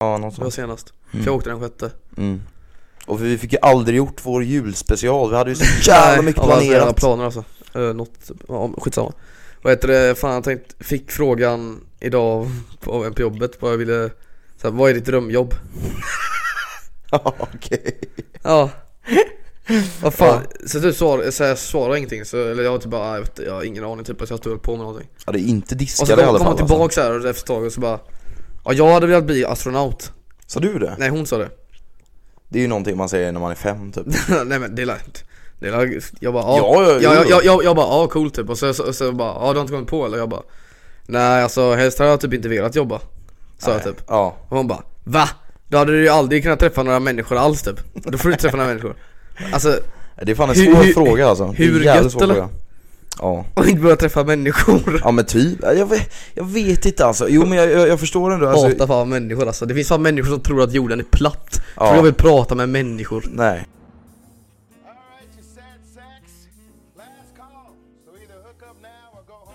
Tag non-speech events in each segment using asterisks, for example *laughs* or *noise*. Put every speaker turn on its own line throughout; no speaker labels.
Ja, något
Det var
sånt.
senast.
Mm.
För jag åkte den sjätte.
Mm. Och vi fick ju aldrig gjort vår julspecial, vi hade ju så jävla
Nej,
mycket
alla jävla
planerat. *laughs*
planer alltså. Uh, något, ja, om- skitsamma. Vad heter det, fan jag tänkte, fick frågan idag på, av en på jobbet, vad jag ville, så här, vad är ditt drömjobb?
Ja, Okej. *laughs*
Ja. Vad fan, så typ svar, så jag svarade ingenting så, eller jag var typ bara, "Ah, jag, vet, jag har ingen aning typ, alltså jag stod väl på med någonting.
Ja, det är inte
Och så
diskade i
kom
alla
kom hon
fall. Alltså.
tillbaka så här efter ett tag och så bara, ja jag hade velat bli astronaut.
Sa du det?
Nej hon sa det.
Det är ju någonting man säger när man är fem typ.
*laughs* Nej men det är lugnt. Det är lugnt. Jag bara,
Ja,
ja.
ja,
Ja, jag,
jo.
jag, jag, jag bara, ja cool typ, och så, så, så bara, ja du har inte kommit på eller? Jag bara Nej alltså helst hade jag typ inte velat jobba Sa jag
Nej.
typ
Ja.
Och hon bara, va? Då hade du ju aldrig kunnat träffa några människor alls typ Då får du inte träffa några människor Alltså,
Det är fan en
Hur-
svår
hur-
fråga alltså. Det är en
hur
jävligt
gött,
svår
eller?
fråga. Ja.
och inte börja träffa människor
Ja men typ, jag vet, jag vet inte alltså. Jo men jag, jag, jag förstår ändå alltså.
Hata fan människor alltså, det finns fan människor som tror att jorden är platt
Ja.
Tror jag vill prata med människor *laughs*
Nej.
All right, you sad sacks. Last call. So either hook up now or go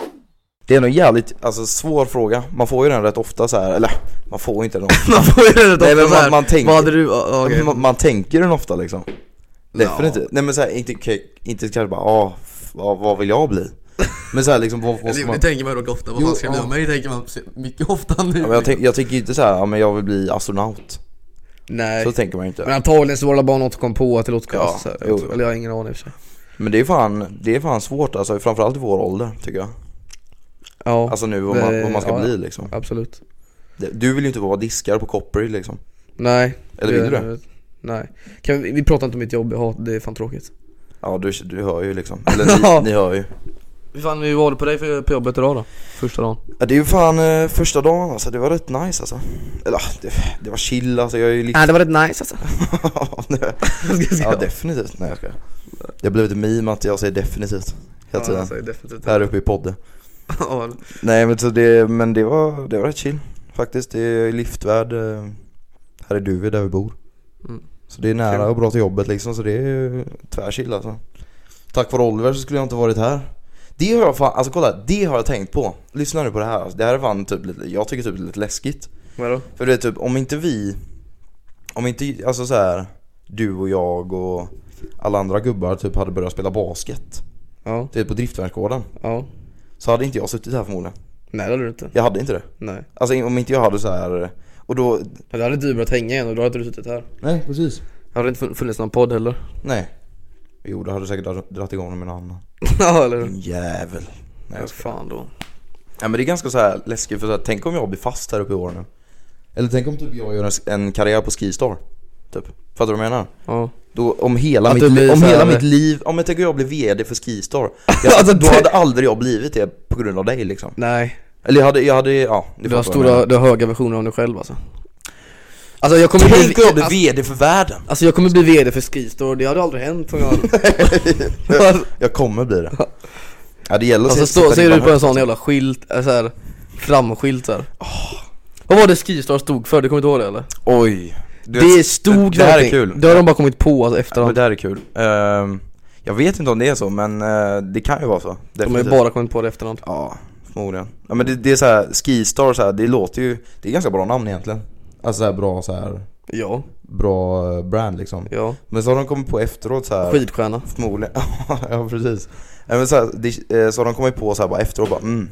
home.
Det är ändå en jävligt alltså, svår fråga. Man får ju den rätt ofta så här. eller man får ju inte den ofta.
Man får ju det
Nej, men
ofta så här,
man- man tänker-
Vad hade du, ja, ja, *laughs* okej.
man, man tänker den ofta liksom. Definitivt.
Ja.
Nej men såhär, inte, okej, inte kanske bara ah, f- vad, vad vill jag bli? *laughs* Men såhär liksom, vad, vad ska
det,
man...
det tänker man dock ofta, vad
Jo,
fan ska jag bli
ja.
av mig? Det tänker man mycket ofta nu
Ja, men jag, tänk, jag tänker ju inte såhär, ja men jag vill bli astronaut.
Nej
Så tänker man ju
Men
inte.
antagligen så var det bara något som kom på att det låter
Typ. Ja,
konstigt så här.
jo.
Jag tror- Eller jag har ingen aning i och för sig
Men det är fan, det är fan svårt alltså, framförallt i vår ålder tycker jag.
Ja,
Alltså nu vad man, vad man ska
Ja, ja.
bli liksom.
absolut
Det- Du vill ju inte vara diskare på Coppery liksom.
Nej
Eller vill du det?
Nej kan vi, vi pratar inte om mitt jobb, jag hatar- det är fan tråkigt
Ja du, du hör ju liksom, eller ni, ni hör ju
Hur fan hur var det på dig för, på jobbet idag då? Första dagen?
ja, Det är ju fan eh, första dagen alltså, det var rätt nice alltså Eller ah, det, det var chill alltså, jag är ju lite
Nej det var rätt nice alltså *laughs*
Nej. *laughs* Ja definitivt, nej jag skojar Det blev ett meme att jag säger definitivt hela tiden
alltså, definitivt
Här uppe i podden
Ja,
Nej men, så det, men det, var, det var rätt chill faktiskt, det är liftvärd eh, Här är Duved där vi bor
Mm.
Så det är nära
Kul.
och bra till jobbet liksom, så det är eh, tvärchill alltså Tack vare Oliver så skulle jag inte varit här Det har jag fan, alltså kolla, det har jag tänkt på Lyssna nu på det här, alltså. det här är fan typ lite, jag tycker typ lite läskigt
vadå?
För det är typ, om inte vi Om inte, alltså så här Du och jag och alla andra gubbar typ hade börjat spela basket
Ja,
Typ på Driftverksgården
ja
Så hade inte jag suttit här förmodligen
Nej det hade du inte,
Jag hade inte det
nej
Alltså om inte jag hade så här Och då
Men Då hade du börjat hänga igen och då hade du suttit här
Nej precis
Hade det inte fun- funnits någon podd heller?
Nej Jo då hade du säkert dra- dragit igång med någon annan
*laughs* Ja eller hur?
Din jävel Nej
Ja,
jag ska...
fan då
ja, men det är ganska så här läskigt för så här, tänk om jag blir fast här uppe i år nu Eller tänk om typ jag gör en, en karriär på Skistar Typ, fattar du vad jag menar?
Ja
Då, om hela,
Att
mitt,
du
li-
blir
om
så
hela
här-
mitt liv, om jag tänker jag blir VD för
*laughs*
Skistar jag,
Alltså,
Då
det-
hade aldrig jag blivit det på grund av dig liksom
Nej,
Eller jag hade, jag hade, ja det
Du har,
fattar vad jag
stora, du har höga versioner av dig själv alltså Alltså jag kommer
menar. Tänk om jag blir
alltså,
VD för världen!
alltså jag kommer bli VD för Skistar, det hade aldrig hänt
*laughs*
om jag *laughs*
Jag kommer bli det Ja det gäller att
Alltså
se-
stå,
sätta
ser du
ribban
på en
högt.
sån jävla skylt, äh, så här, framskylt såhär Vad var det Skistar stod för? Du kommer inte ihåg det eller?
Oj Du vet-
det stod
det, det här är
någonting.
kul
Det har de bara kommit på alltså,
Ja, men
efterhand
det här är kul Ehm, Jag vet inte om det är så men eh, det kan ju vara så
De har ju
definitivt.
bara kommit på det efterhand
Ja, förmodligen ja, men det, det är så här, Skistar så här, det låter ju, det är ganska bra namn egentligen Alltså så här, bra så här
Ja,
bra eh, brand liksom
ja,
Men så har de kommit på efteråt så här
skidstjärna
Förmodligen, *laughs* ja precis Nej, men så, här, det, eh, så har de kommit på så här bara efteråt bara mm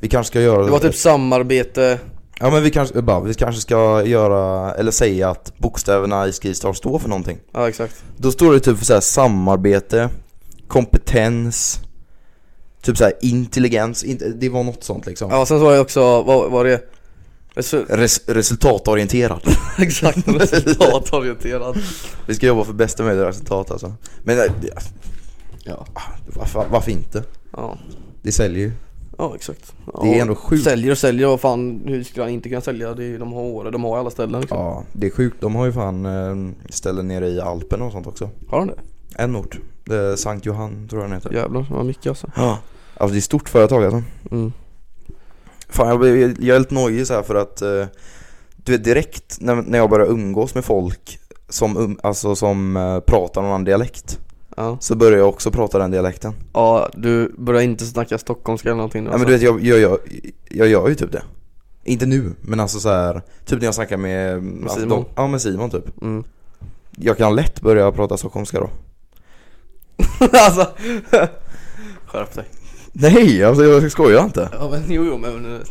Vi kanske ska göra
Det var typ samarbete,
Ja men vi kanske, bara, vi kanske ska göra, eller säga att bokstäverna i Skistar står för någonting
ja exakt
Då står det typ för så här samarbete, kompetens Typ så här intelligens, inte- det var något sånt liksom
Ja sen så var det också, vad var det? Resu- *laughs*
Res- Resultatorienterad *laughs*
exakt, resultatorienterad
Vi ska jobba för bästa möjliga resultat alltså Men eh, det-
Ja,
ah, varför, varför inte?
ja
Det säljer ju
Ja exakt ja,
Det är ändå sjukt.
Säljer och säljer och fan hur skulle han inte kunna sälja? Det är, de har Åre, de har alla ställen liksom.
Ja, det är sjukt. De har ju fan eh, ställen nere i Alperna och sånt också.
Har de det?
En ort. Det är Sankt Johan tror jag den heter.
Jävlar vad mycket alltså
Ja. Alltså det är ett stort företag alltså.
mm.
Fan jag, blir- jag är lite nojig så här för att eh, du vet direkt när, när jag börjar umgås med folk som, um, alltså, som eh, pratar någon annan dialekt
ja.
så börjar jag också prata den dialekten.
ja, du börjar inte snacka stockholmska eller någonting nu alltså.
Ja, men du vet jag, jag, jag, jag gör ju typ det. Inte nu, men alltså så här, typ när jag snackar med alltså,
Simon?
de- ja, med Simon typ.
Mm.
Jag kan lätt börja prata stockholmska då.
*laughs* alltså, *laughs* skärp dig.
Nej, alltså jag skojar inte.
Ja men jo, jo men *laughs* nu.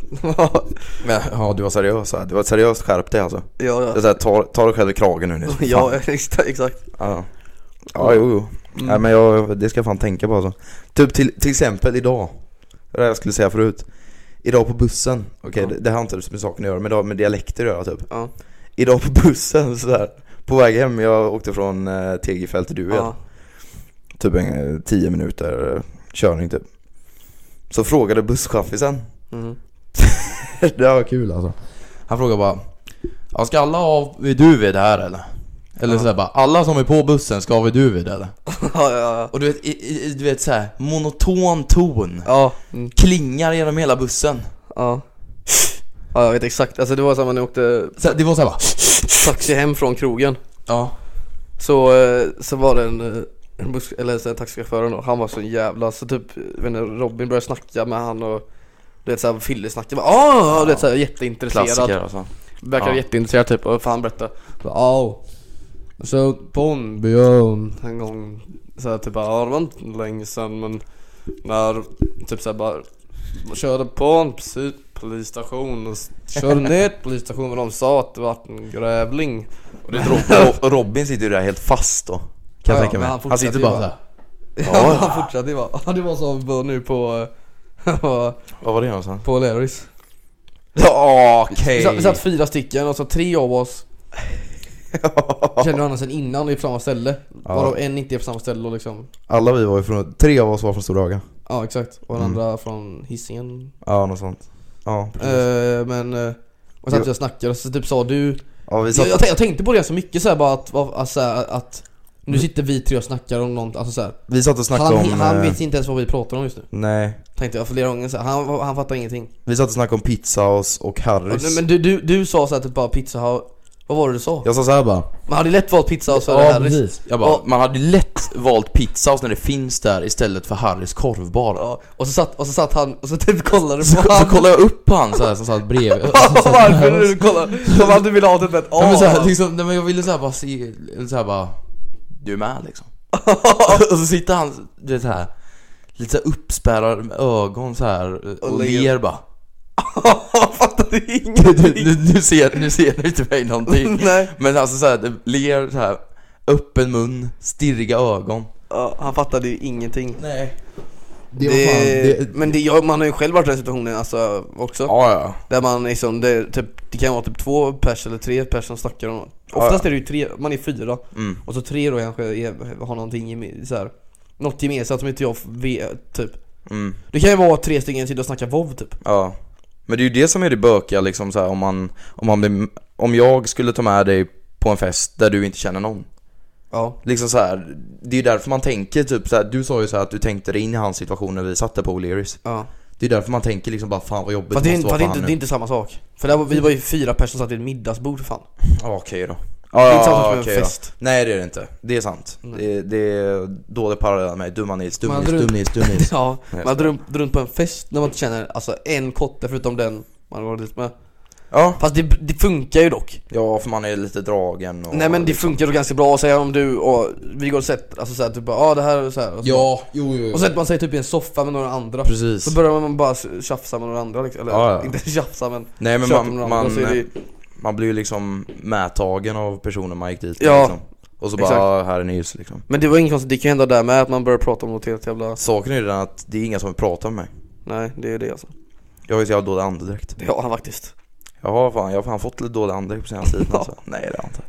Men, ja, du var seriös. så här. Du var seriöst skärp dig alltså.
ja,
Jag
ja.
så här, tar, tar dig själv i kragen nu. *laughs* Nils.
ja, *laughs* exakt. exakt. Mm.
Ja, ja jo, jo. Nej, men jag, det ska jag fan tänka på alltså. Typ till, till exempel idag. Det där jag skulle säga förut. Idag på bussen. Okej,
Ja.
det, det har inte med saken att göra, men det har med dialekter att göra typ.
Ja.
Idag på bussen så här. På väg hem, jag åkte från eh, Tegefält till Dued.
Ja.
Typ en eh, 10 minuter eh, körning typ. Så frågade buschaffisen.
Mm.
*laughs*
*laughs*
det var kul alltså. Han frågade bara. "Ja, Ska alla av vid Duved här eller? Eller
Ja.
sådär bara, alla som är på bussen ska av vid Duved eller?
ja, ja, ja.
Och du vet, i, i, du vet så här, monoton ton
Ja, mm.
Klingar genom hela bussen
ja. Ja, jag vet exakt. Alltså det var samma när jag åkte
så här, Det var så här bara
taxi hem från krogen.
Ja
Så, eh, så var det en, eh, en buss, eller så här, taxichauffören då, han var så jävla, så typ, jag vet inte, Robin började snacka med han och du vet såhär fyllesnacket, bara ah, du vet såhär jätteintresserad
alltså
Verkar
Ja.
jätteintresserad typ, och fan berätta Ja, så på en björn en gång Såhär typ, ja det var inte länge sedan men När, typ såhär bara man Körde på en polis- polisstation och s- körde ner till polisstationen och de sa att det var en grävling
Och det Rob, Rob, Robin sitter ju där helt fast då Kan
Ja,
jag tänka
men
mig
han
Han,
fortsätter
sitter
ju
bara
bara.
såhär
Ja, han fortsatte ju bara. Ja, det var som bör nu på, *laughs* eh,
Vad var det någonstans?
på Larrys.
Ja
Vi
*laughs* okej
satt, vi satt fyra stycken och så tre av oss kände varandra sedan innan och är på samma ställe.
Ja.
Varav en inte är på samma ställe och liksom.
Alla vi var ju från, tre av oss var från Storhaga
Ja exakt. Och den andra från Hisingen.
Ja något sånt Ja, precis.
Eh, men, eh, och satt vi och snackade och så typ sa du.
ja vi
Jag,
satt
jag, tän- jag tänkte på det så mycket så här bara att, vad- alltså, så här, att nu sitter vi tre och snackar om något, alltså så här.
Vi satt och snackade
Han,
om
han
eh,
vet inte ens vad vi pratar om just nu.
Nej
Tänkte jag flera gånger så här. Han, han fattar ingenting.
Vi satt och snackade om pizzaos och
Ja,
Harrys
nej, men du, du, du sa såhär typ bara pizza har... Vad var det du sa?
Jag sa såhär bara
Man hade lätt valt pizza och så det här.
Jag
bara,
man hade lätt valt pizzaos när det finns där istället för Harrys korvbar
Ja, och, så satt, och så satt han och så typ kollade på
Så, så
han.
kollade jag upp på han så här, som satt *laughs* bredvid
*laughs* Varför du kollar? Som att du ville ha typ ett
ja, men så här,
A.
liksom, nej, men jag ville så här bara se, eller så här bara Du är med liksom *laughs* Och så sitter han, du vet så här Lite så här uppspärrade med ögon så här och,
Och ler.
ler bara *laughs*
Fattar du
nu,
ingenting?
nu, nu, ser, nu ser du inte mig någonting
Nej.
Men alltså så här, det- ler så här Öppen mun, stirriga ögon
Ja, han fattade ju ingenting.
Nej
Det Men det, jag, man har ju själv varit i den situationen alltså också.
Ja ja
Där man liksom, det, är typ, det kan vara typ två pers eller tre pers som snackar om något. Oftast är det ju tre, man är fyra.
mm.
Och så tre då kanske är, har någonting geme- så här, Något gemensamt som inte jag vet typ
Mm.
Det kan ju vara tre stycken sitter och snackar WoW typ
Ja. Men det är ju det som är det bökiga liksom så här, om man, om man blir, om jag skulle ta med dig på en fest där du inte känner någon.
Ja
Liksom så här, det är ju därför man tänker typ så här, du sa ju så här att du tänkte dig in i hans situation när vi satt där på O'Learys.
Ja
Det är därför man tänker liksom bara fan vad jobbigt
Fast det är,
måste
inte- fast det är,
vara för
inte, det är
han nu.
inte samma sak För där var, vi var ju fyra personer som satt vid ett middagsbord för fan
Ja, Okej då.
Det
Ja,
är inte samma
ja,
sak som en
okej då.
fest.
Nej det är det inte, det är sant.
Nej.
Det, är- det är dålig parallell med dumma Nils, dum
Man
Nils,
dröm-
dum Nils, dum Nils.
*laughs* Ja,
Nej,
man hade runt, runt på en fest när man inte känner alltså en kotte förutom den man var dit med
Ja,
Fast det, det funkar ju dock
ja för man är lite dragen och...
Nej men det funkar ju ganska bra att säga om du och vi går och sett, alltså såhär typ bara ja ah, det här och så här och så,
Ja, jo jo. jo.
Och så sätter man sig typ i en soffa med några andra
Precis.
Så börjar man bara tjafsa med några andra liksom, eller
Ja, ja.
*laughs* inte tjafsa men
Nej men
tjata
man,
med några andra
man,
så är det ju-
Man blir ju liksom medtagen av personen man gick dit
Ja,
med liksom. Och så
exakt.
bara, "Ah, här är Nils liksom.
Men det var inget konstigt, det kan ju hända där med att man börjar prata om något helt jävla
Saken är ju den att det är inga som vill prata med mig.
Nej det är det alltså
Jag har ju så jävla dålig andedräkt.
Det har han faktiskt
Jag har fan, jag har fan fått lite dålig andedräkt på senaste
*laughs*
tiden alltså. Nej det har jag inte.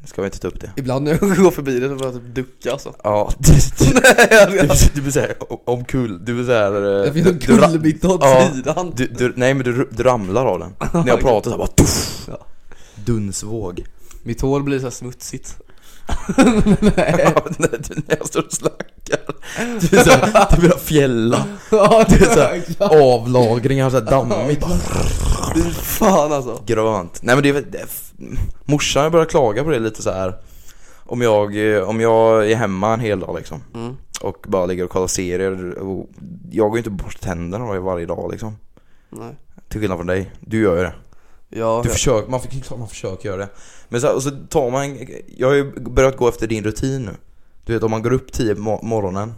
Nu ska vi inte ta upp det.
Ibland när jag *laughs* går förbi det så börjar jag typ ducka alltså
*laughs* Ja, du, du,
*laughs*
du,
Jag
du blir såhär omkull, du blir såhär... eh,
fick
du-
en
du ra-
kullerbytta åt
Ja.
sidan
du, du, nej men du, du ramlar av den. När
*laughs*
jag pratar såhär bara tuff.
Ja.
Dunsvåg.
Mitt hår blir
*laughs*
såhär smutsigt *laughs*
Ja, när du- när jag står och slackar. Du är *laughs* såhär, du blir
*laughs*
fjälla.
Ja
Det är såhär avlagringar, såhär dammigt, bara
Fy fan alltså
grönt. Nej men det är väl, det är f- morsan börjar klaga på det lite så här. Om jag, eh, om jag är hemma en hel dag liksom
Mm.
och bara ligger och kollar serier och jag går ju inte bort tänderna varje- varje dag liksom.
Nej
Till skillnad från dig, du gör ju det.
Ja,
Du
jag-
försöker, man, får- klart man försöker göra det. Men så, här, och så tar man, jag har ju börjat gå efter din rutin nu. Du vet om man går upp 10 på mo- morgonen,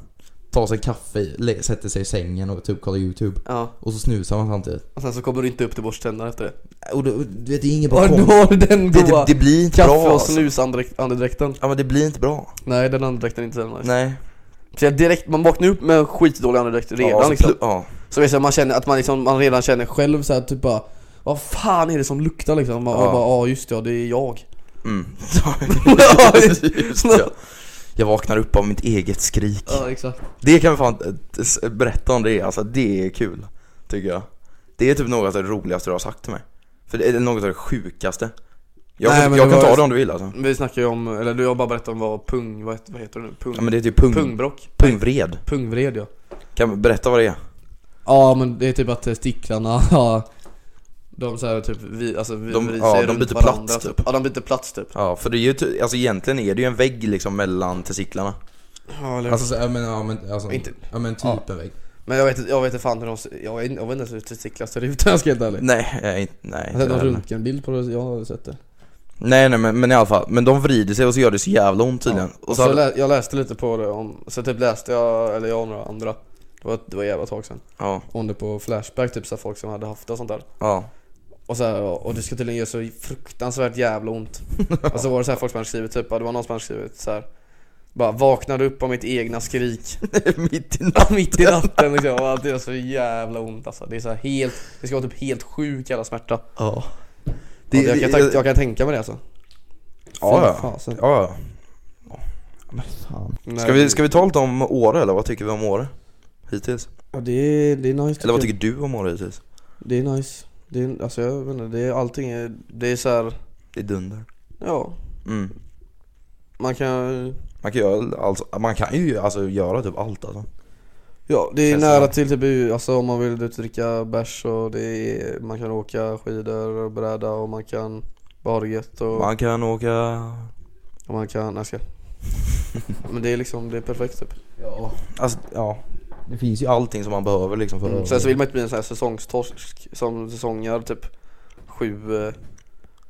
tar sig kaffe, lä- sätter sig i sängen och typ kollar YouTube.
ja.
Och så snusar man samtidigt.
Och sen så kommer du inte upp till borständerna efter det.
Och du, du vet, det är inget bra
Och nu
kom-
har du den
det, det,
goa
det blir inte bra
kaffe och
alltså.
snus-andedräkten.
Ja men det blir inte bra.
Nej, den andedräkten är inte så jävla nice.
Nej.
Så jag direkt, man vaknar upp med en skitdålig andedräkt redan
ja, så
liksom.
plu- ja.
Så visst, man känner att man, liksom, man redan känner själv så här, typ bara Vad fan är det som luktar liksom? Man
Ja.
bara ja just det, ja, det
*laughs*
är jag.
Mm.
Ja,
Just det. Jag vaknar upp av mitt eget skrik.
Ja exakt.
Det kan vi fan eh, t- s- berätta om det, alltså det är kul tycker jag Det är typ något av det roligaste du har sagt till mig För det är något av det sjukaste Jag
Nej,
kan,
men
jag
det
kan
var-
ta det om du vill alltså
Vi snackar ju om, eller du har bara berättat om vad pung, vad heter, vad heter det nu? Pung,
ja, men det är typ pung,
Pungbrock?
pungvred
Pungvred ja.
Kan du berätta vad det är?
Ja men det är typ att eh, sticklarna, *laughs* ja, de så här, typ vi, alltså, vi
De-
vrider
ja,
sig
de
runt
byter
varandra, alltså.
plats, typ.
Ja de byter plats typ.
Ja för det är ju ty- alltså egentligen är det ju en vägg liksom mellan testiklarna
Ja, eller,
Alltså, så, ja, men, ja, men, alltså,
Inte-
ja, men typ
Ja.
en vägg.
men jag vet inte, jag vet inte fan hur de ser- jag, vet- jag vet inte ens hur testiklar ser ut *laughs* om jag ska vara helt ärlig.
Nej, jag är inte- nej
Jag har sett
inte
någon
heller.
röntgenbild på det, jag har sett det.
Nej nej men, men i alla fall, men de vrider sig och så gör det så jävla ont tydligen
Och så
Alltså,
lä- jag läste lite på det om, så typ läste jag, eller jag och några andra Det var, det var jävla tag sedan
Ja,
Om det på Flashback, typ så här, folk som hade haft det och sånt där
ja
Och så här, och och det ska tydligen göra så fruktansvärt
*laughs*
jävla ont Och så var det så här folk som hade skrivit typ, ja, det var någon som hade skrivit så här. Bara vaknade upp av mitt egna skrik
*laughs* *laughs*
*laughs*
Mitt i natten
mitt i natten liksom, och allt gör så jävla ont alltså. Det är så här helt, det ska vara typ helt sjuk jävla smärta
Ja
det, jag, kan, tänka- jag kan tänka mig det alltså
Ja, ja.
Fy fasen.
Ja, ja. Ska vi, ska vi ta lite om Åre eller vad tycker vi om Åre? Hittills?
Ja, det, är- det är nice tycker
Eller vad
jag.
tycker du om Åre hittills?
Det är nice. Det är, alltså jag vet inte, det är allting är, det är så här,
Det är dunder
ja,
mm.
man kan,
man, kan göra, alltså, man kan ju alltså, göra typ allt alltså.
ja det är
Känns
nära
det.
till typ, alltså om man vill ut och dricka bärs och det är, man kan åka skidor och bräda och man kan bara ha det gött och man,
Man kan åka...
och man kan, nej jag ska.
*laughs*
Men det är liksom, det är perfekt typ.
Ja. Alltså, ja. Det finns ju allting som man behöver liksom för
Mm.
att-
Sen så vill man inte bli en sån här säsongstorsk som säsongar typ sju, eh,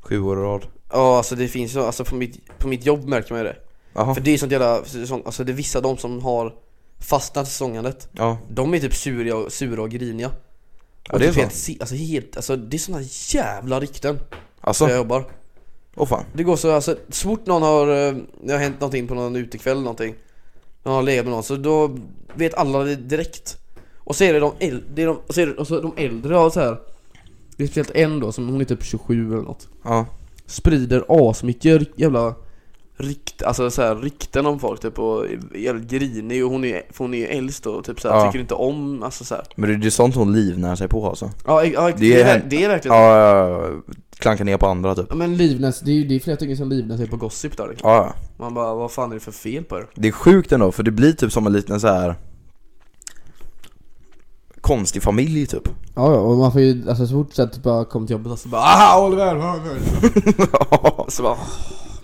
Sju år i rad.
ja alltså det finns ju, alltså på mitt, på mitt jobb märker man ju det.
Jaha.
För det är sånt jävla, säsong, alltså det är vissa de som har fastnat i säsongandet.
Ja.
De är typ sura och, sura och griniga.
ja.
Och
Det är
typ
så.
helt, si- alltså, helt, alltså det är såna jävla rykten där jag
Alltså,
jobbar.
åh fan.
Det går så, alltså så fort någon har, eh, det har hänt någonting på någon utekväll eller någonting. Någon har legat med någon, så då vet alla det direkt. Och så är det de äldre, det är de, och så är det, och så de äldre har så här. Det är speciellt en då, som hon är typ 27 eller något.
Ja.
Sprider asmycket ry- jävla rykt, alltså så här, rykten om folk typ och är jävligt grinig och hon är, för hon är ju äldst och typ så här,
Ja.
tycker inte om, alltså så här.
Men det det är sånt hon livnär sig på alltså.
Ja, ex- ja ex-
Det
det,
är
är,
hem-
ver- det är verkligen ja.
Ja, ja, ja. Klanka ner på andra typ.
men livnäs, det är ju det är flera stycken som livnär sig på gossip där liksom.
Ja, ja.
Man bara, vad fan är det för fel på er?
Det är sjukt ändå, för det blir typ som en liten så här konstig familj typ.
Ja, ja, och man får ju, alltså så fort så typ bara kommer till jobbet och så bara ah Oliver! *laughs* Så bara, "Ah,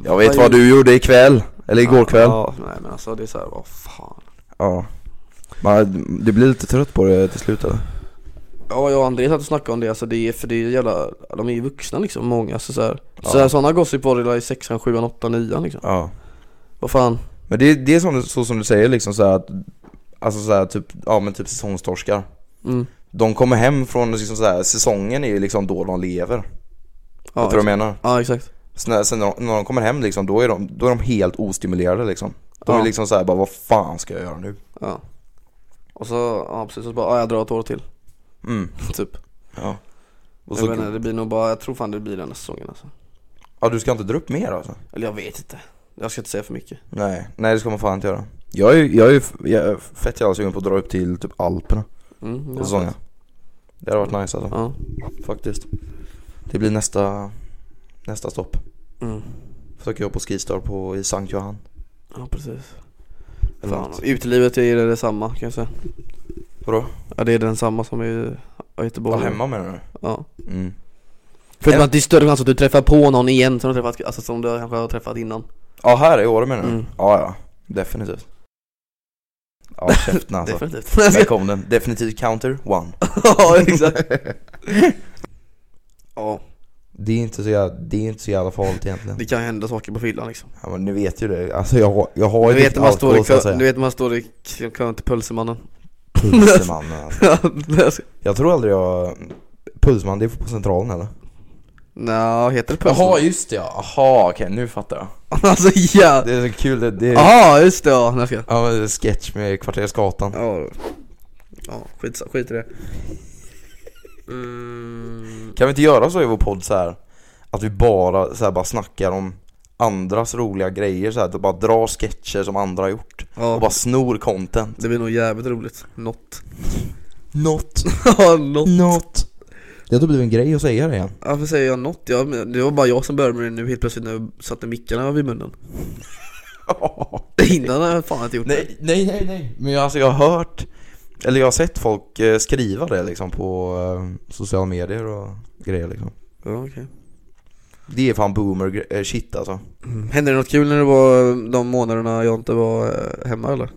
jag vet vad du gjorde ikväll, eller igår kväll.
Ja, nej men alltså det är såhär, vad fan.
Ja. Man, du blir lite trött på det till slut eller?
Ja, jag och André satt och snackade om det, alltså det är, för det är jävla, de är ju vuxna liksom, många, så såhär.
Ja.
Så här, sådana gossip var det i sexan, sjuan, åttan, nian liksom.
Ja.
Vad fan.
Men det, det är som, så som du säger liksom så här att, alltså så här typ, ja men typ säsongstorskar.
Mm.
De kommer hem från liksom så här, säsongen är ju liksom då de lever.
Ja,
Vet du vad jag
exakt.
menar?
Ja, exakt.
Sen, när- sen när de- när de kommer hem liksom, då är de, då är de helt ostimulerade liksom. De är
Ja.
liksom så här bara, vad fan ska jag göra nu?
Ja. Och så, ja precis, och så bara, ja, jag drar ett år till. *laughs*
Mm.
Typ.
Ja. Och
jag vet inte,
så,
det blir nog bara, jag tror fan det blir den här säsongen alltså.
ja, du ska inte dra upp mer alltså?
Eller jag vet inte. Jag ska inte säga för mycket.
Nej, nej det ska man fan inte göra. Jag är ju jag är, ju f- jag är fett jävla sugen på att dra upp till typ Alperna
Mm,
på
ja.
säsongen. Det hade varit nice alltså,
Ja.
faktiskt. Det blir nästa, nästa stopp.
Mm.
Försöker jag på Skistar på, i Sankt Johan.
ja, precis.
Eller
Fan,
något.
utelivet är det detsamma kan jag säga.
Vadå?
Ja, det är densamma som i i
Ja,
Göteborg.
hemma menar du?
Ja.
Mm.
Förutom att det är större chans att du träffar på någon igen som du, träffat, alltså, som du kanske har träffat innan.
Ja, här i Åre menar du?
Mm.
Ja, ja. Definitivt. Ja, käften alltså.
*laughs* Definitivt. *laughs*
Där kom den. Definitivt counter, one.
ja, exakt. Ja,
Det är inte så jävla, det är inte så jävla farligt egentligen.
det kan hända saker på fyllan liksom.
Ja men ni vet ju det. Alltså jag, har- jag har
Du
ju
vet, när man står i
alkohol, så att
kö,
säga.
du vet när man står i k- kön till Pölsemannen? *laughs*
Pulsmannen alltså.
Alltså,
Jag tror aldrig jag... Pulsman, det är på centralen eller?
Nja, heter det Pölsemannen?
just det ja. Jaha okej, nu fattar jag.
*laughs* Alltså ja!
Det är så kul, det, det är...
Jaha, just det ja, jag ska.
Ja men det är sketch med Kvartersgatan.
Ja, ja skit, skit i det.
Kan vi inte göra så i vår podd så här Att vi bara, så här, bara snackar om andras roliga grejer så här, att bara dra sketcher som andra har gjort och
Ja,
bara snor content.
det blir nog jävligt roligt. Något.
Något,
Ja, något.
något. Det har typ blivit en grej att säga det igen.
Varför säger jag något? Jag, det var bara jag som började med det nu helt plötsligt när jag satte mickarna vid munnen. *laughs*
*laughs*
Innan har jag fan inte gjort det.
nej, nej, nej, nej. Men jag, alltså, jag har hört, eller jag har sett folk eh, skriva det liksom på eh, sociala medier och grejer liksom.
Ja, okej.
Det är fan boomer gre- eh, shit alltså.
Mm. Hände det något kul när det var de månaderna jag inte var eh, hemma eller?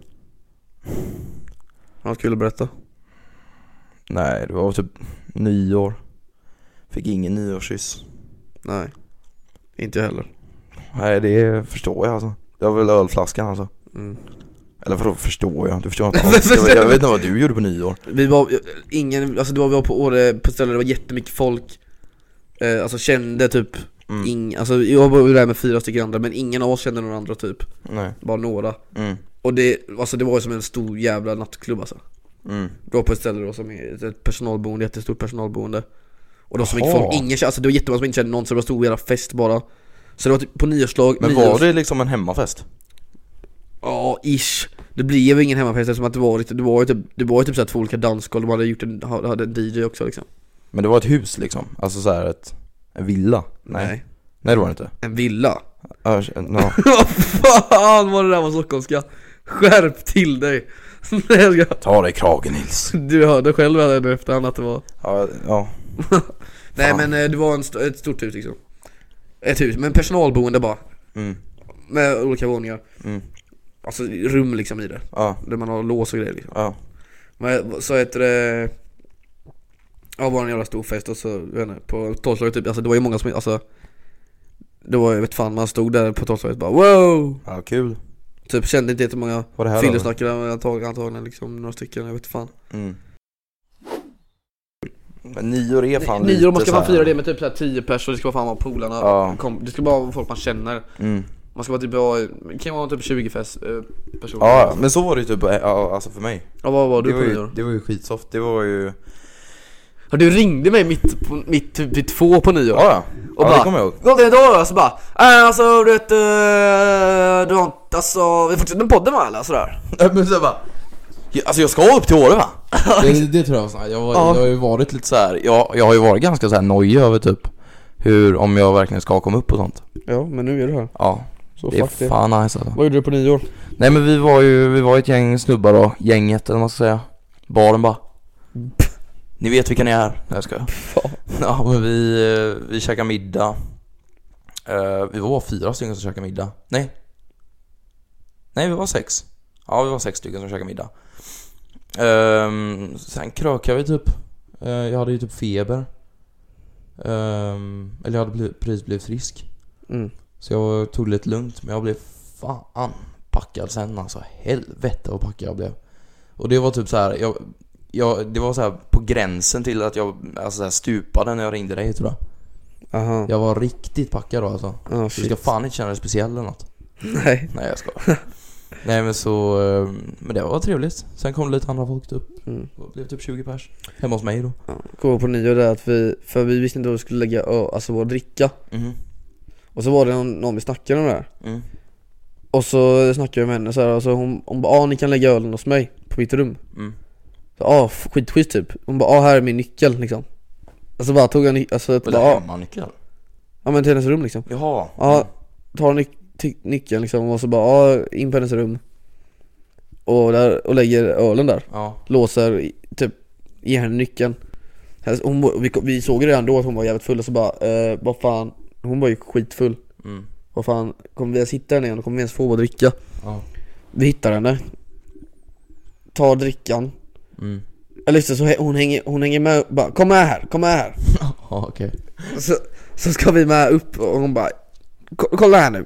Har du Något kul att berätta?
Nej, det var typ nyår. Fick ingen nyårskyss.
Nej. Inte jag heller.
Nej, det förstår jag alltså. Det var väl ölflaskan alltså.
Mm.
Eller vadå förstår jag? Du *laughs* förstår inte alls. Jag, jag vet inte vad du gjorde på nyår.
Vi var, ingen, alltså det var, vi var på Åre, på ställen det var jättemycket folk eh, Alltså kände typ,
Mm.
ing, alltså jag var ju där med fyra stycken andra men ingen av oss kände några andra typ
Nej.
Bara några
Mm.
Och det, alltså det var ju som en stor jävla nattklubb alltså
Mm.
Det var på ett ställe då som är ett- ett personalboende, jättestort personalboende Och då som
Jaha.
inte folk, ingen kände, alltså det var jättemånga som inte kände någon så det var en stor jävla fest bara Så det var typ på nyårslag,
Men
nyårs-
var det liksom en hemmafest?
Ja, ish. Det blev ingen hemmafest eftersom att det var, lite- det var ju typ, det var ju typ såhär två olika dansgolv, de hade gjort en, hade en DJ också liksom
Men det var ett hus liksom? Alltså så här ett, en villa? Nej det var det inte.
En villa? *laughs*
Ja, no.
Vad fan var det där var stockholmska? Skärp till dig! *laughs* Nej, jag ska-
Ta dig i kragen Nils.
du hörde själv här nu efterhand att det var
Ja, ja.
Nej
Fan.
men eh, det var en st- ett stort hus liksom Ett hus, men personalboende bara
Mm.
Med olika våningar
Mm.
Alltså rum liksom i det,
Ja,
där man har lås och grejer liksom
ja.
Men så heter det Ja var en jävla stor fest och så, jag vet inte, på tolvslaget typ, alltså det var ju många som, alltså Det var ju, vet fan, man stod där på tolvslaget bara wow!
Ja, kul.
Typ kände inte jättemånga
Var det här då?
fyllesnackare antagligen, antagligen liksom, några stycken, jag vet fan
Mm. Men nyår är fan
Nyår, man
lite
ska
så
fan
här-
fira det med typ såhär 10 personer, det ska vara fan vara polarna,
Ja.
kom, det ska bara vara folk man känner
Mm.
Man ska vara typ, vara- det kan vara typ 20 fest, eh, personer
Ja, ja, men så var det ju typ, eh, ja, alltså för mig.
ja vad var du
det, var
på
ju,
nyår?
det var ju skitsoft, det var ju...
Ja, du ringde mig mitt, på, mitt typ vid två på nyår
Ja, ja.
Och
ja,
bara-
det kommer jag ihåg.
*laughs* Gå till ett år och så bara, äh, alltså du vet, eh, du har inte- alltså vi fortsätter med podden va eller sådär?
Ja, Men så bara, "Ja, alltså jag ska upp till *laughs* Åre va?
Det, det tror jag var sån här. jag, var,
Ja.
jag har ju varit lite
Så här, jag, jag har ju varit ganska så här nojig över typ hur, om jag verkligen ska komma upp och sånt.
Ja men nu är du här,
Ja,
så
det är fan nice alltså.
Vad gjorde du på nyår?
Nej men vi var ju, vi var ett gäng snubbar då, gänget eller vad man ska säga. Baren bara. Ni vet vilka ni är. Nej jag skojar. Ja men vi, eh, vi käkade middag. Eh, vi var fyra stycken som käkade middag. Nej. Nej vi var sex. Ja vi var sex stycken som käkade middag. Ehm, sen krökade vi typ. Eh, jag hade ju typ feber. Ehm, eller jag hade bli- precis blivit frisk.
Mm.
Så jag tog det lite lugnt men jag blev fan packad sen alltså. Helvete vad packad jag blev. Och det var typ så här, jag, jag, det var så här på gränsen till att jag alltså så här stupade när jag ringde dig tror jag.
Aha.
Jag var riktigt packad då alltså.
Ja,
Du ska fan inte känna dig speciell eller något.
Nej.
Nej jag ska. *laughs* Nej men så, eh, men det var trevligt. Sen kom det lite andra folk upp.
Mm.
Det blev typ 20 pers. Hemma hos mig då.
Kommer på nyår där att vi, för vi visste inte vad vi skulle lägga, ö, alltså vår dricka
Mhm.
Och så var det någon, någon vi snackade om det här
Mm.
Och så snackade jag med henne så här, och så hon, hon bara ah, ni kan lägga ölen hos mig på mitt rum
Mm.
Så ah, f- skitschysst typ Hon bara ah, här är min nyckel liksom Alltså bara tog jag ny- alltså
Vill
bara,
du
ah,
ha hemmanyckeln?
ja men till hennes rum liksom
Jaha.
Ja, tar nyc- ty- nyckeln liksom och så bara ja, in på hennes rum och, där, och lägger ölen där,
Ja.
låser, i- typ ger henne nyckeln Hennes- hon, var- vi, vi såg ju redan då att hon var jävligt full och så bara, eh, vad fan Hon var ju skitfull
Mm.
Vad fan, kommer vi ens hitta henne igen? och Kommer vi ens få vår dricka?
Ja.
Vi hittar henne Tar drickan,
Mm.
Jag lyssnar så hä- hon hänger, hon hänger med och bara 'Kom med här, kom med här'
*laughs* Ja okej.
så, så ska vi med upp och hon bara "Ko- 'Kolla här nu'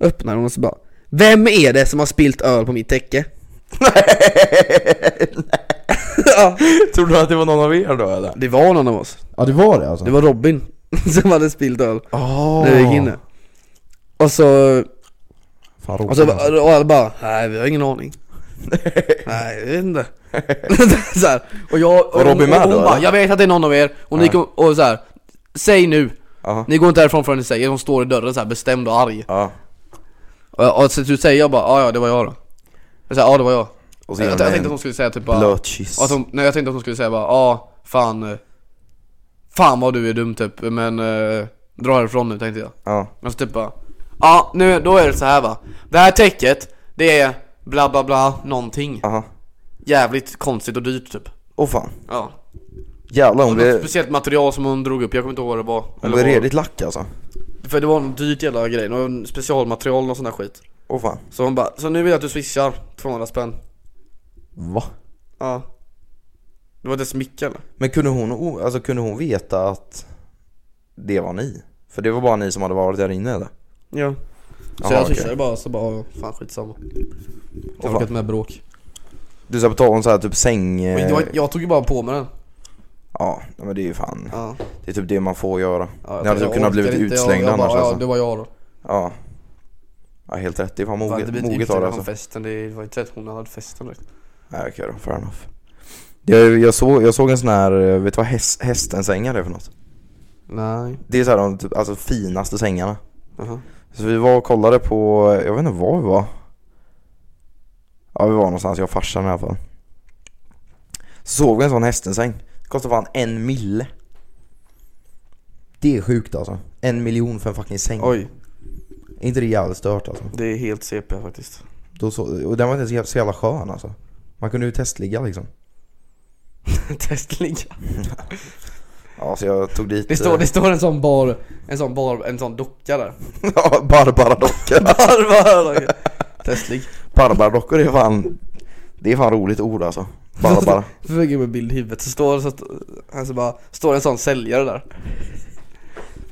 Öppnar hon och så bara 'Vem är det som har spilt öl på mitt täcke?' *laughs* ja,
Tror du att det var någon av er då eller?
det var någon av oss
Ja det var det alltså?
Det
*laughs*
var Robin som hade spilt öl
Oh.
när vi gick inne Och så,
Fan
och
roligt
så
alltså.
och alla bara 'Nej vi har
*laughs*
ingen aning' Nej, jag vet inte så här,
Och jag
Var Robin med
och hon
då,
bara,
eller?
jag vet att det är någon av er, och ni
Ja.
kom, och så här, säg nu!
Ja.
Ni går inte härifrån förrän ni säger, hon står i dörren så här bestämd och arg
Ja.
Och, och så du säger jag bara, ja ja det var jag då Jag säger, ja det var jag
Och så
jag,
ger
jag
de
tänkte att
en
hon skulle säga typ bara,
blöt kyss.
och att hon, nej jag tänkte att hon skulle säga bara, ja fan eh, Fan vad du är dum typ, men eh, dra härifrån nu tänkte jag
Ja.
Men så typ bara, ja nu, då är det så här va Det här täcket, det är bla bla bla någonting
Aha.
Jävligt konstigt och dyrt typ
Åh fan.
Ja,
Jävlar hon
Och något
blev,
speciellt material som hon drog upp, jag kommer inte ihåg vad det var
hon
Eller
blev
vad-
redigt lack alltså.
För det var en dyrt jävla grej, någon specialmaterial och sån där skit
Åh fan.
Så hon bara, så nu vill jag att du swishar 200 spänn
Va?
Ja Det var inte ens Micke eller?
Men kunde hon, o- alltså, kunde hon veta att det var ni? För det var bara ni som hade varit där inne eller?
Ja Så
Jaha,
jag
okej.
swishade bara, så bara, ja, fan skitsamma Jag
Åh,
orkar
fan.
inte med bråk
Du ska betala en sån här typ säng...
Och
eh,
jag, jag tog ju bara på mig den
Ja, men det är ju fan.
Ja,
Det är typ det man får göra.
ja jag
Ni hade
tänkte,
typ
jag
kunnat blivit
orkar inte,
utslängda
jag, jag bara,
annars
Ja
alltså.
det var jag då
Ja. Ja, helt rätt. Det är fan
Jag hade
moget,
blivit
moget av
utslängd
det
från
alltså.
festen, det var inte rätt hon hade festen direkt
Nej okej då, fair enough. Jag, jag, såg, jag såg en sån här, eh, vet du vad häst, hästensängar är för något?
Nej,
Det är så här de typ, alltså finaste sängarna.
jaha
Så vi var och kollade på, jag vet inte var vi var. Ja vi var någonstans, jag och farsan i alla fall. Så såg vi en sån hästensäng. Kostade fan en mille. Det är sjukt alltså. En miljon för en fucking säng.
Mm. Oj,
Är inte det jävligt stört alltså?
det är helt CP faktiskt
Då så, och den var inte så jävla, så jävla skön alltså. Man kunde ju testligga liksom.
*laughs* Testliga
Ja så jag tog dit...
Det står, det står en sån bar, en sån bar, en sån docka *laughs* där
eh, *laughs* Ja, Barbaradockor.
Barbara *laughs* Testlig
Barbaradockor är fan... Det är fan roligt ord alltså. Barbara.
Försöker med bild i huvudet, så står, så, alltså bara, står en sån säljare där
*laughs*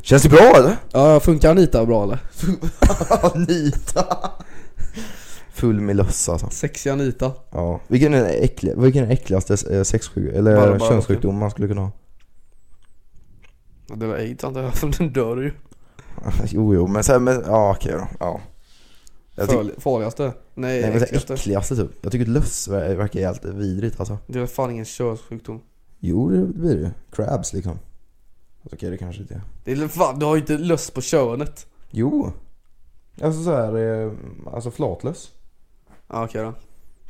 Känns det bra eller?
Ja, funkar Anita bra eller?
Anita. Full med löss alltså.
Sexig Anita
Ja. Vilken är den, äcklig, vilken är den äckligaste eh, sexsjuk, eller
Barbaradockor.
könssjukdom man skulle kunna ha? *laughs*
Ja, Det var aids antar jag, *laughs* för den dör ju
Jo, jo, men sen, men, ja okej då. Ja. Jag tycker,
Föl, Farligaste? Nej,
nej, men så här,
äckligaste
äckligaste typ. Jag tycker löss ver- verkar helt vidrigt alltså.
Det är fan ingen könssjukdom
Jo, det blir det ju. Crabs liksom. Alltså, Okej, det kanske inte är.
Det är fan, du har ju inte lust på könet
Jo. Alltså så här, eh, alltså flatlöss.
Ja okej då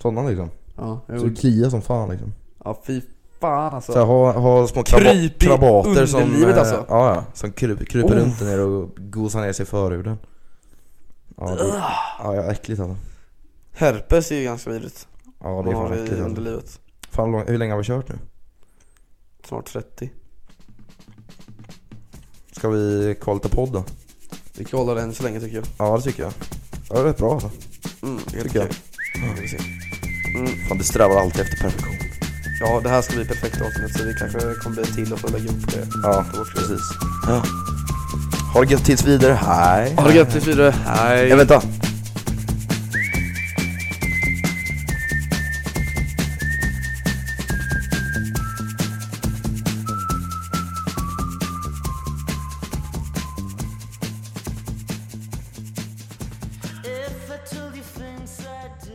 Sådana liksom.
Ja,
Så
jo.
det kliar som fan liksom.
ja fy fan alltså
Så här, ha, ha små
Kryp
kraba-
i
krabater som,
underlivet,
eh,
alltså.
ja, ja, som kryp, kryper
Oh.
runt ner och gosar ner sig i förhuden. Ja, det, ja, ja äckligt alltså.
Herpes är ju ganska vidrigt
Ja, det är
Man
fan
har i
äckligt alltså.
underlivet
fan, lång, Hur länge har vi kört nu?
Snart 30
Ska vi kolla lite podd då?
Vi kan hålla den så länge tycker jag
Ja, det tycker jag. Ja, det är rätt bra alltså.
Mm, helt
Tycker jag.
okej.
Ja, vi ser. Fan, du strävar alltid efter perfektion.
Ja, det här ska bli perfekt avsnitt så vi kanske kommer bli till och få lägga upp det.
Ja, precis. Ja. Ha det gött tills vidare. Hej.
Ha det gött tills vidare. Hej.
Ja, vänta.
If I told you things I